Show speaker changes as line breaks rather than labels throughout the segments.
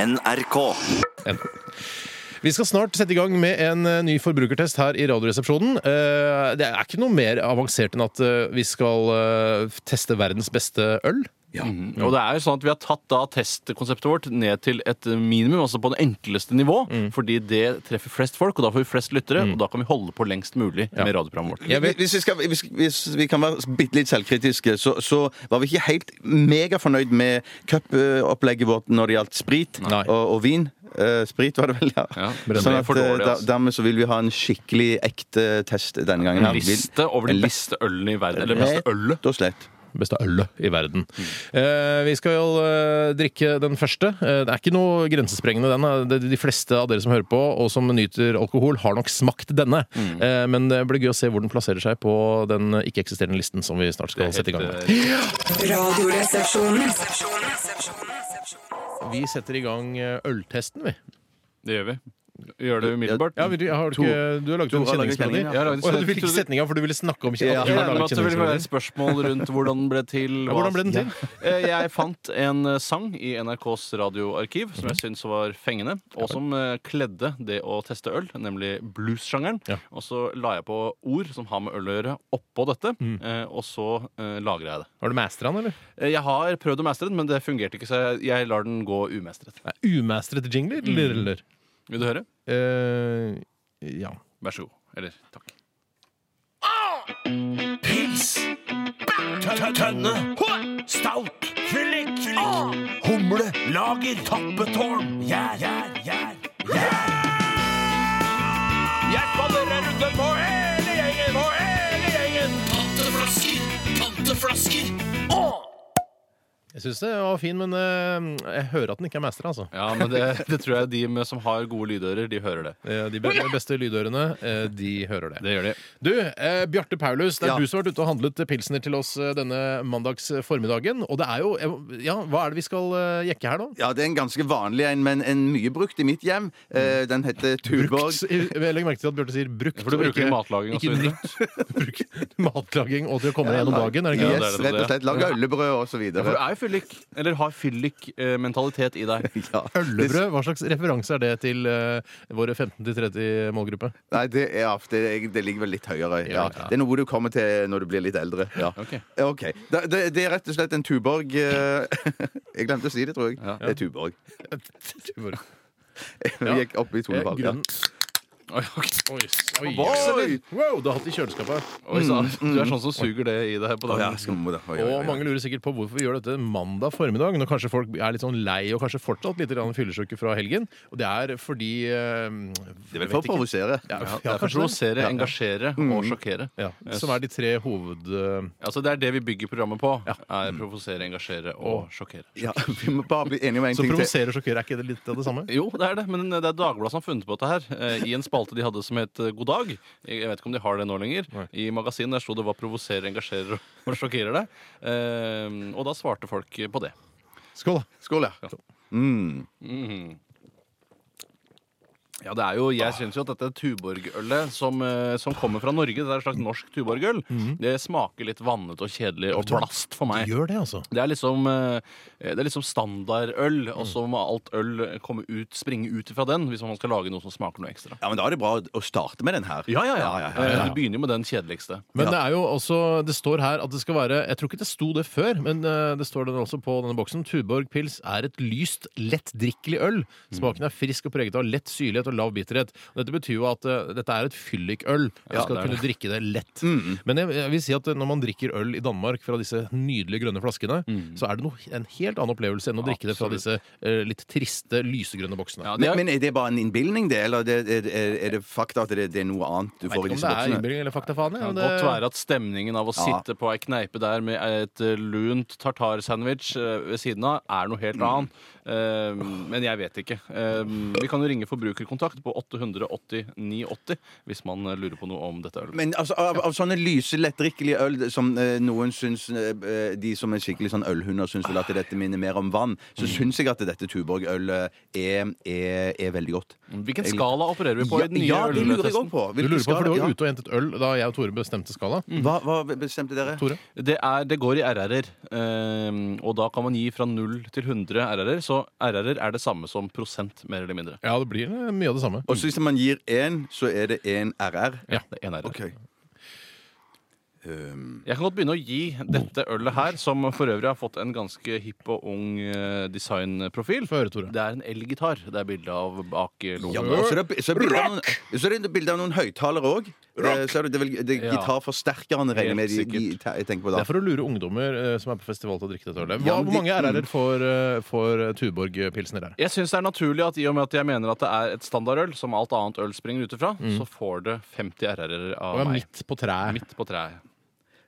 NRK.
Vi skal snart sette i gang med en eh, ny forbrukertest her i Radioresepsjonen. Eh, Det er ikke noe mer avansert enn at eh, vi skal eh, teste verdens beste øl. Mm.
Og det er jo sånn at Vi har tatt da testkonseptet vårt ned til et minimum, altså på det enkleste nivå.
Mm.
Fordi det treffer flest folk, og da får vi flest lyttere. Og da kan vi holde på lengst mulig med radioprogrammet vårt.
Jeg vet-
Hvis vi, skal, hvis, hvis vi kan være bitte litt selvkritiske, så, så var vi ikke helt megafornøyd med cupopplegget vårt når det gjaldt sprit
Nei.
og, og vin. Eh, sprit var det vel, ja.
Ja,
sånn
det er
at,
for dårlig,
eh, da,
altså.
dermed så vil vi ha en skikkelig ekte test denne gangen. her.
En
Vi-
liste over de
en liste-
beste ølene i verden. Eller beste ølet.
Rett og slett.
Beste ølet i verden. Eh, Vi skal jo eh, drikke den første. Eh, Det er ikke noe grensesprengende, den. eh. Det- De fleste av dere som hører på og som nyter alkohol, har nok smakt denne. Eh, Men det blir gøy å se hvor den plasserer seg på den ikke-eksisterende listen som vi snart skal sette i gang med.
Radioresepsjonen.
Vi setter i gang eh, øltesten, vi.
Det gjør vi. Gjør det umiddelbart.
Ja, vi, har du, ikke, du har laget
To
en
har laget
kjenningsmelodi.
kjenningen,
ja. Jeg har laget
Å,
en
ja, du fikk ikke
kjenning.
setninga, for du ville snakke om kjen-
Ja.
at du
Jeg
har
regner med
laget
at det vil være
kjenningsmelodi.
et spørsmål rundt hvordan den ble til.
Ja, hvordan ble den til?
Ja. Eh, Jeg fant en eh, sang i NRKs radioarkiv som
Mhm.
jeg syns var fengende, og som eh, kledde det å teste øl, nemlig blues-sjangeren.
Ja.
Og så la jeg på ord som har med øl å gjøre, oppå dette,
Mm.
eh, og så eh, lagra jeg det.
Har du mastra den, eller?
Eh, Jeg har prøvd å mestre den, men det fungerte ikke, så jeg- jeg lar den gå umestret.
Nei, Umastret jingler, eller? eller?
Vil du høre?
Eh, ja.
Vær så god. Eller takk.
Jeg syns det var fin, men eh, jeg hører at den ikke er mastra, altså.
Ja, men det, det tror jeg de med, som har gode lydører, de hører det.
Eh, De be- beste lydørene, eh, de hører det.
Det gjør de.
Du, eh, Bjarte Paulus, det er
Ja.
du som har vært ute og handlet pilsner til oss eh, denne mandags formiddagen. Og det er jo eh, Ja, hva er det vi skal eh, jekke her nå?
Ja, det er en ganske vanlig en, men en mye brukt i mitt hjem. Eh, den heter Tuborg.
Brukt. Jeg legger merke til at Bjarte sier brukt.
For du
og
bruker
ikke-
matlaging og så
ikke
videre.
nytt. Bruk matlaging og til å komme deg gjennom dagen. Er det ikke?
det er
Yes,
det, det er
rett og
det.
slett. Lag øllebrød og
Ja,
så
for
videre.
du er jo fyllik, eller har fyllik-mentalitet i deg.
Ja.
Øllebrød, hva slags referanse er det til eh, våre 15-30 målgruppe?
Nei, det, er, ja, det, er- det ligger vel litt høyere. Ja. Det er noe du kommer til når du blir litt eldre. Ja.
Ok.
Ok. Det, det, det er rett og slett en Tuborg eh, Jeg glemte å si det, tror jeg.
Ja.
Det er Tuborg.
Tuborg.
Vi
Ja.
gikk opp i
Eh,
tonefall. Ja.
Grønn
Oi, ok.
Oi, oi,
Vokser,
oi.
eller?
Wow, du har hatt det i kjøleskapet.
Oi, så, du er sånn som suger det i deg på
Å, ja,
dagen.
skummer det. Oi, oi, oi.
Og mange lurer sikkert på hvorfor vi gjør dette mandag formiddag, når kanskje folk er litt sånn lei og kanskje fortsatt litt grann fyllesyke fra helgen. Og det er fordi eh,
Det er vel
jeg vet
for å
ikke.
provosere.
Ja, ja,
Ja,
kanskje det.
Provosere, engasjere og sjokkere.
Ja, som er de tre hoved... eh,
Altså, det er det vi bygger programmet på. Er provosere, engasjere og sjokkere.
Ja, vi må bare bli enige om en
Så
ting til.
provosere og sjokkere, er ikke det litt av det samme?
Jo, det er det, men det er Dagbladet som har funnet på dette her. eh, I en spalte de hadde som het eh, God dag. Jeg vet ikke om de har det nå lenger. I magasinet der sto det hva provoserer, engasjerer og sjokkerer deg. Eh, Og da svarte folk på det.
Skål, da.
Skål, ja.
Ja, det er jo,
Ah.
Jeg syns jo at dette tuborgølet som, eh, som kommer fra Norge, det er et slags norsk tuborgøl,
Mhm.
det smaker litt vannet og kjedelig og blast for meg.
Gjør det, altså.
Det er liksom, eh, det er liksom standardøl, og
Mm.
så må alt øl komme ut, springe ut fra den hvis man skal lage noe som smaker noe ekstra.
Ja, men Da er det bra å- å starte med den her.
Eh, Du begynner jo med den kjedeligste.
Men det er jo også, det står her at det skal være Jeg tror ikke det sto det før, men eh, det står det også på denne boksen. Tuborg pils er et lyst, lettdrikkelig øl.
Mm.
Smaken er frisk og preget av lett syrlighet og lav bitterhet. Og Dette betyr jo at eh, dette er et fyllikøl. Du
Ja,
skal
det Mm. er
kunne drikke det lett. Men jeg, jeg vil si at når man drikker øl i Danmark fra disse nydelige grønne flaskene,
Mm.
så er det noe, en helt annen opplevelse enn å drikke det fra disse eh, litt triste, lysegrønne boksene.
Ja, det
Men,
er,
men er det bare en innbilning, det? Eller er det, er, er- er det fakta at det, det er noe annet du
jeg
får i
vet ikke om
disse
det er
boksene?
innbilning eller fakta, faen.
det
jeg,
kan
men
godt
det-
være at stemningen av å
Ja.
sitte på ei kneipe der med et eh, lunt tartarsandwich eh, ved siden av, er noe
Mm.
helt annet. Eh, Men jeg vet ikke. Eh, Vi kan jo ringe forbrukerkontakt på 880 980 hvis man eh, lurer på noe om dette ølet.
Men altså, av, av sånne lyse, lettdrikkelige øl som eh, noen syns eh, eh, De som er skikkelig sånn ølhunder syns vel at dette minner mer om vann, så syns jeg at dette Tuborg-ølet er, er, er veldig godt.
Hvilken skala opererer vi på i den nye
ja, det lurer jeg
øltesten?
òg på.
Du lurer på, for du var
ja.
ute og hentet øl da jeg og Tore bestemte skala.
hva, hva bestemte dere?
Tore?
Det, er, det går i RR-er, eh, og da kan man gi fra 0 til 100 RR-er. Så Så RR-er er det samme som prosent, mer eller mindre.
Ja, det blir eh, mye av det samme.
Og så hvis man gir én, så er det én RR.
Ja, det er en RR.
OK. Um,
Jeg kan godt begynne å gi dette ølet her, som for øvrig har fått en ganske hipp og ung eh, designprofil.
Få høre, Tore.
Det er en elgitar. Det er bilde av bak eh,
ja,
logoen.
men også er det, så, er det bilde av noen, så er det bilde av noen høyttalere òg. Så er det, det, er vel- det er
Ja.
gitarforsterkeren regner jeg med de,
Helt
de,
sikkert.
te- tenker på
Det
da.
er for å lure ungdommer eh, som er på festival til å drikke dette ølet. Hva,
Ja, men
hvor mange
de- Mm.
RR-er får, eh, får eh, Tuborg-pilsner der?
Jeg syns det er naturlig at i og med at jeg mener at det er et standardøl, som alt annet øl springer ut ifra, så får det 50 RR-er av
Og er
meg.
midt på treet.
Mm. Midt på treet.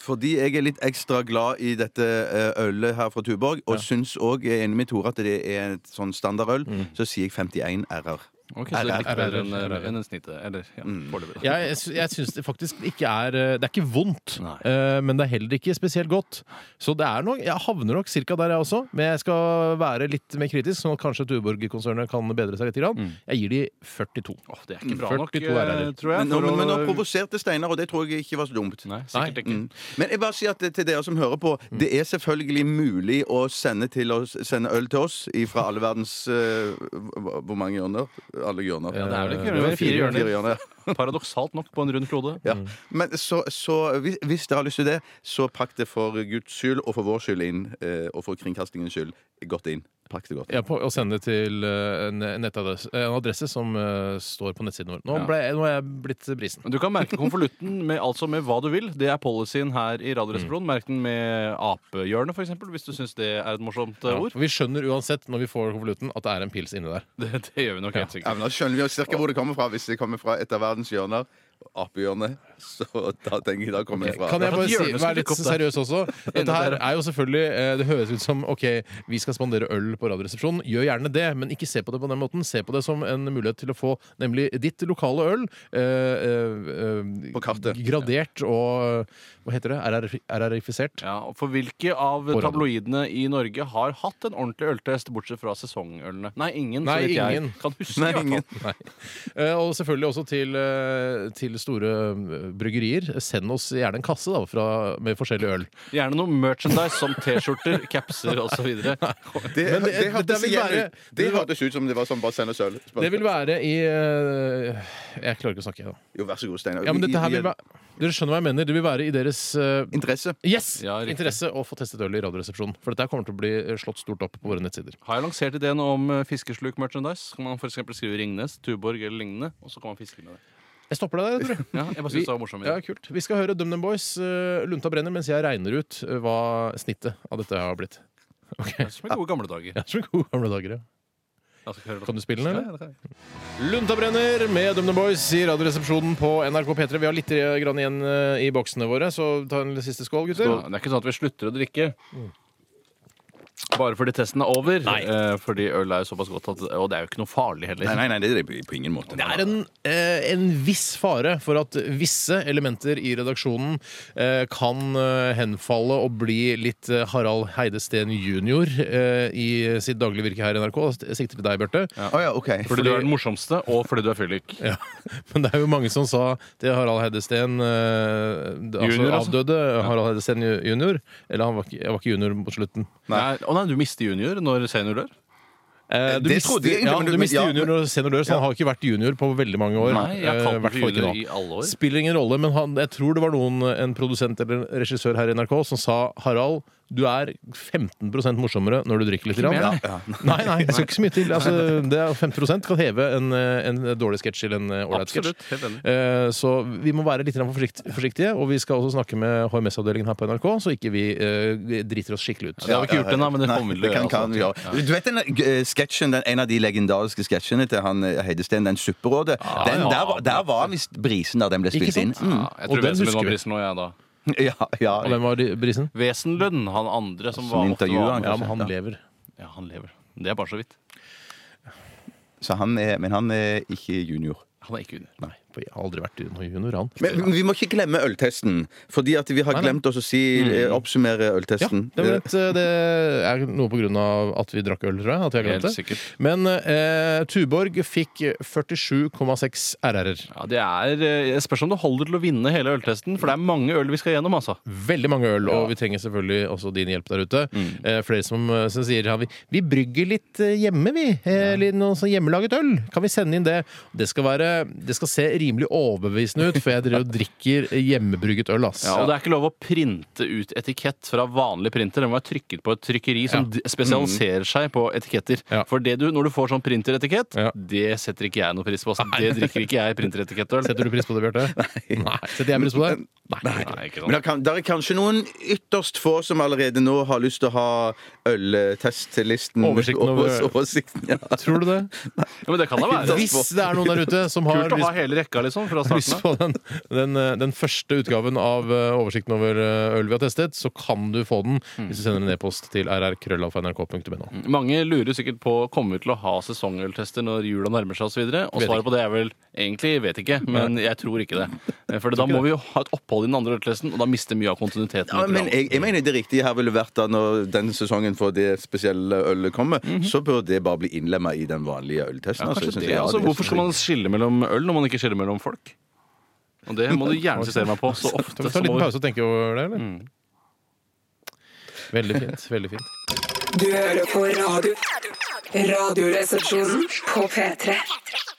Fordi jeg er litt ekstra glad i dette eh, ølet her fra Tuborg, og syns òg, jeg er enig med Tore, at det er et sånn standardøl,
Mm.
så sier jeg 51 RR.
Ok, så det er litt
RR.
bedre enn eh, enn en snittet. Eller ja, foreløpig. da.
Jeg, jeg, sy- jeg syns det faktisk ikke er eh, Det er ikke vondt,
Nei.
eh, men det er heller ikke spesielt godt. Så det er nok, jeg havner nok cirka der, jeg også. Men jeg skal være litt mer kritisk, sånn at kanskje Tuborg-konsernet kan bedre seg litt.
Mm.
Grann. Jeg gir de 42.
Åh, det er ikke bra nok,
42 RR-er.
eh, tror jeg.
Men, nå-
for å-
men, men nå provoserte Steinar, og det tror jeg ikke var så dumt.
Nei, sikkert ikke.
Mm. Men jeg bare sier at det- til dere som hører på,
Mm.
det er selvfølgelig mulig å sende, til oss, sende øl til oss fra alle verdens eh, hv- Hvor mange hjørner? Alle hjørner.
Det er vel
Eh,
ikke det er fire
Fire
hjørner.
hjørner,
Paradoksalt nok på en rund klode.
ja.
Mm.
Men så, så hvis, hvis dere har lyst til det, så pakk det for Guds skyld og for vår skyld inn, eh, og for kringkastingens skyld godt inn. Pakk det godt.
Ja, på, og sende det til eh, en, nettadresse, en adresse som eh, står på nettsiden vår. Nå,
Ja.
ble, nå er jeg blitt brisen.
Du kan merke konvolutten med, altså med hva du vil. Det er policyen her i
Mm.
Radioresepsjonen. Merk den med apehjørnet, f.eks., hvis du syns det er et morsomt eh,
Ja.
ord.
Vi skjønner uansett når vi får konvolutten at det er en pils inni der.
Det, det gjør vi nok helt
Ja,
sikkert.
men Da skjønner vi jo cirka hvor det kommer fra. Hvis det kommer fra et av verdens hjørner, apehjørnet, så da tenker jeg da kommer det fra
Kan jeg
er
bare
at
si,
hjørnet skal
være litt
dukke opp der.
seriøs også? Dette her er jo selvfølgelig eh, Det høres ut som OK, vi skal spandere øl på Radioresepsjonen. Gjør gjerne det, men ikke se på det på den måten. Se på det som en mulighet til å få nemlig ditt lokale øl eh, eh, eh,
På kartet.
Gradert og eh, Hva heter det? RR RR-ifisert?
Ja, og for hvilke av
radio.
tabloidene i Norge har hatt en ordentlig øltest, bortsett fra sesongølene? Nei, ingen.
Nei,
så vidt
ingen.
jeg kan huske.
Nei,
i hvert fall.
ingen.
Nei. Eh, Og selvfølgelig også til, eh, til store eh, bryggerier. Send oss gjerne en kasse da, fra, med forskjellig øl.
Gjerne noe merchandise som T-skjorter, capser osv.
Det,
Men det-
det, hørtes
det vil
igjen
være-
ut. det
det var-
hørtes ut som det var sånn bare send oss øl.
Det vil være i eh, Jeg klarer ikke å snakke, jeg, da.
Jo, vær så god, Steinar.
Ja, men dette her
Vi-
vil være, dere skjønner hva jeg mener. Det vil være i deres eh,
Interesse.
yes,
Ja, riktig.
interesse å få testet øl i Radioresepsjonen. For dette her kommer til å bli eh, slått stort opp på våre nettsider.
Har jeg lansert ideen om eh, fiskesluk-merchandise? Kan man for eksempel skrive Ringnes, Tuborg eller lignende, og så kan man fiske med det.
Jeg stopper deg der, jeg tror jeg.
Ja, jeg bare synes det var morsomt.
Ja, kult. Vi skal høre DumDum Boys, eh, Lunta brenner, mens jeg regner ut eh, hva snittet av dette har blitt.
Det er som i gode gamle dager.
Jeg tror gode gamle dager, ja.
Jeg skal høre det.
Kan du spille den, eller?
Ja, det kan jeg.
Lunta brenner med DumDum Boys i Radioresepsjonen på NRK P3. Vi har litt grann igjen eh, i boksene våre, så ta en siste skål, gutter.
Ja, det er ikke sånn at vi slutter å drikke. Bare fordi testen er over. Eh, fordi øl er jo såpass godt, at, og det er jo ikke noe farlig heller.
Nei, nei, nei, det er det på ingen måte.
Det er en, eh, en viss fare for at visse elementer i redaksjonen eh, kan eh, henfalle og bli litt eh, Harald Heide Steen jr. Eh, i sitt daglige virke her i NRK. Jeg sikter til deg, Bjarte.
Å ja, OK.
Fordi, du er den morsomste, og fordi du er fyllik.
Ja. Men det er jo mange som sa til Harald Heide Steen, eh, altså,
Junior, altså?
avdøde Harald Heide Steen ju- jr. Eller han var ikke, jeg var ikke junior mot slutten.
Nei. Å nei, du mister junior når senior dør.
Eh, du,
Det
mister,
trodde jeg egentlig,
ja,
men
du
du-
mister
ja,
junior og senior dør, så han har ikke vært junior på veldig mange år.
Nei, jeg har
Eh,
kalt den
hvertfall
for
ikke nå.
junior i alle år.
Spiller ingen rolle, men han, jeg tror det var noen, en produsent eller en regissør her i NRK som sa Harald, du er 15 morsommere når du drikker litt.
Ikke
Grann.
mer,
Ja.
nei.
Nei, nei, det skal ikke så mye til. Altså, det er 15 kan heve en, eh, en dårlig sketsj til en eh, ålreit sketsj.
Absolutt. Helt enig.
Eh, Så vi må være litt grann forsikt- forsiktige, og vi skal også snakke med HMS-avdelingen her på NRK, så ikke vi eh, driter oss skikkelig ut.
Det har vi ikke gjort ennå, men det
Nei,
kommer vi
det
til å gjøre.
kan, kan vi
altså.
gjøre. Du vet den eh, sketsjen, den, en av de legendariske sketsjene til han eh, Heidesteen, den supperådet? den, der, var- der var visst brisen da den ble
Ikke
spilt inn.
sant?
Mm.
Ja, Jeg
Og den
tror Wesenlund
husker
var
vi.
brisen nå, jeg, da.
Ja, ja.
Og hvem var brisen?
Wesenlund, han andre som,
Som
var ofte
intervjuer,
var
han
med.
Ja, men han lever.
Ja, han lever. Det er bare så vidt.
Så han er, men han er ikke junior.
Han er ikke junior.
Nei.
Jeg har aldri vært i noe Junoran.
Men vi må ikke glemme øltesten, fordi at vi har
Nei, nei.
glemt også å si,
Mm.
eh, oppsummere
Ja,
øltesten.
det, var litt, eh, det er noe på grunn av at vi drakk øl, tror jeg. At vi har glemt det.
Helt sikkert.
Men eh, Tuborg fikk 47,6 RR-er.
Ja, det er, eh, jeg spørs om det holder til å vinne hele øltesten, for det er mange øl vi skal gjennom. altså.
Veldig mange øl, og vi trenger selvfølgelig også din hjelp der ute.
Mm.
Eh, flere som, eh, som sier ja, vi, vi brygger litt eh, hjemme, vi. Eh, litt noe sånn hjemmelaget øl. Kan vi sende inn det? Det skal, være, det skal se rimelig overbevisende ut, for jeg driver og drikker hjemmebrygget øl, ass.
Ja, og det er ikke lov å printe ut etikett fra vanlig printer. Den må være trykket på et trykkeri som d- spesialiserer seg på etiketter.
Ja.
For det du, når du får sånn printeretikett,
Ja.
det setter ikke jeg noe pris på. Altså. Det drikker ikke jeg printeretikettøl.
Setter du pris på det, Bjarte? Nei. Setter jeg pris på det? Nei.
Nei, ikke
Eh,
sant.
Men det, kan, det er kanskje noen ytterst få som allerede nå har lyst til å ha øltestlisten.
Oversikten over-
Overs- oversikten, ja.
Tror du det?
Ja, men det kan da være.
Hvis det er noen der ute som har
Kult å
lyst
ha hele rekka, liksom, fra
har lyst
starten av.
på den, den, eh, den første utgaven av eh, oversikten over eh, øl vi har testet, så kan du få den
Mm.
hvis du sender en e-post til rrkrøllalfa.nrk.no.
Mange lurer sikkert på kommer vi til å ha sesongøltester når jula nærmer seg osv. Og, så videre. og
Vet
svaret på det er vel egentlig vet ikke, men jeg tror ikke det. For da må vi jo ha et opphold i den andre øltesten, og da mister mye av kontinuiteten. i
Ja, men
programmet.
jeg, jeg mener det riktige her ville vært da når den sesongen for det spesielle ølet kommer, så bør det bare bli innlemma i den vanlige øltesten. altså. Jeg
Mhm. Kanskje
synes
det,
jeg- ja,
altså,
det-
hvorfor skal man skille mellom øl når man ikke skiller mellom folk? Og det må du gjerne sitere meg på så Mm.
Skal
ofte
vi ta
som
en liten
mulig.
pause og tenke over det, eller? Veldig fint. veldig fint
Du hører på radio. Radioresepsjonen på P3.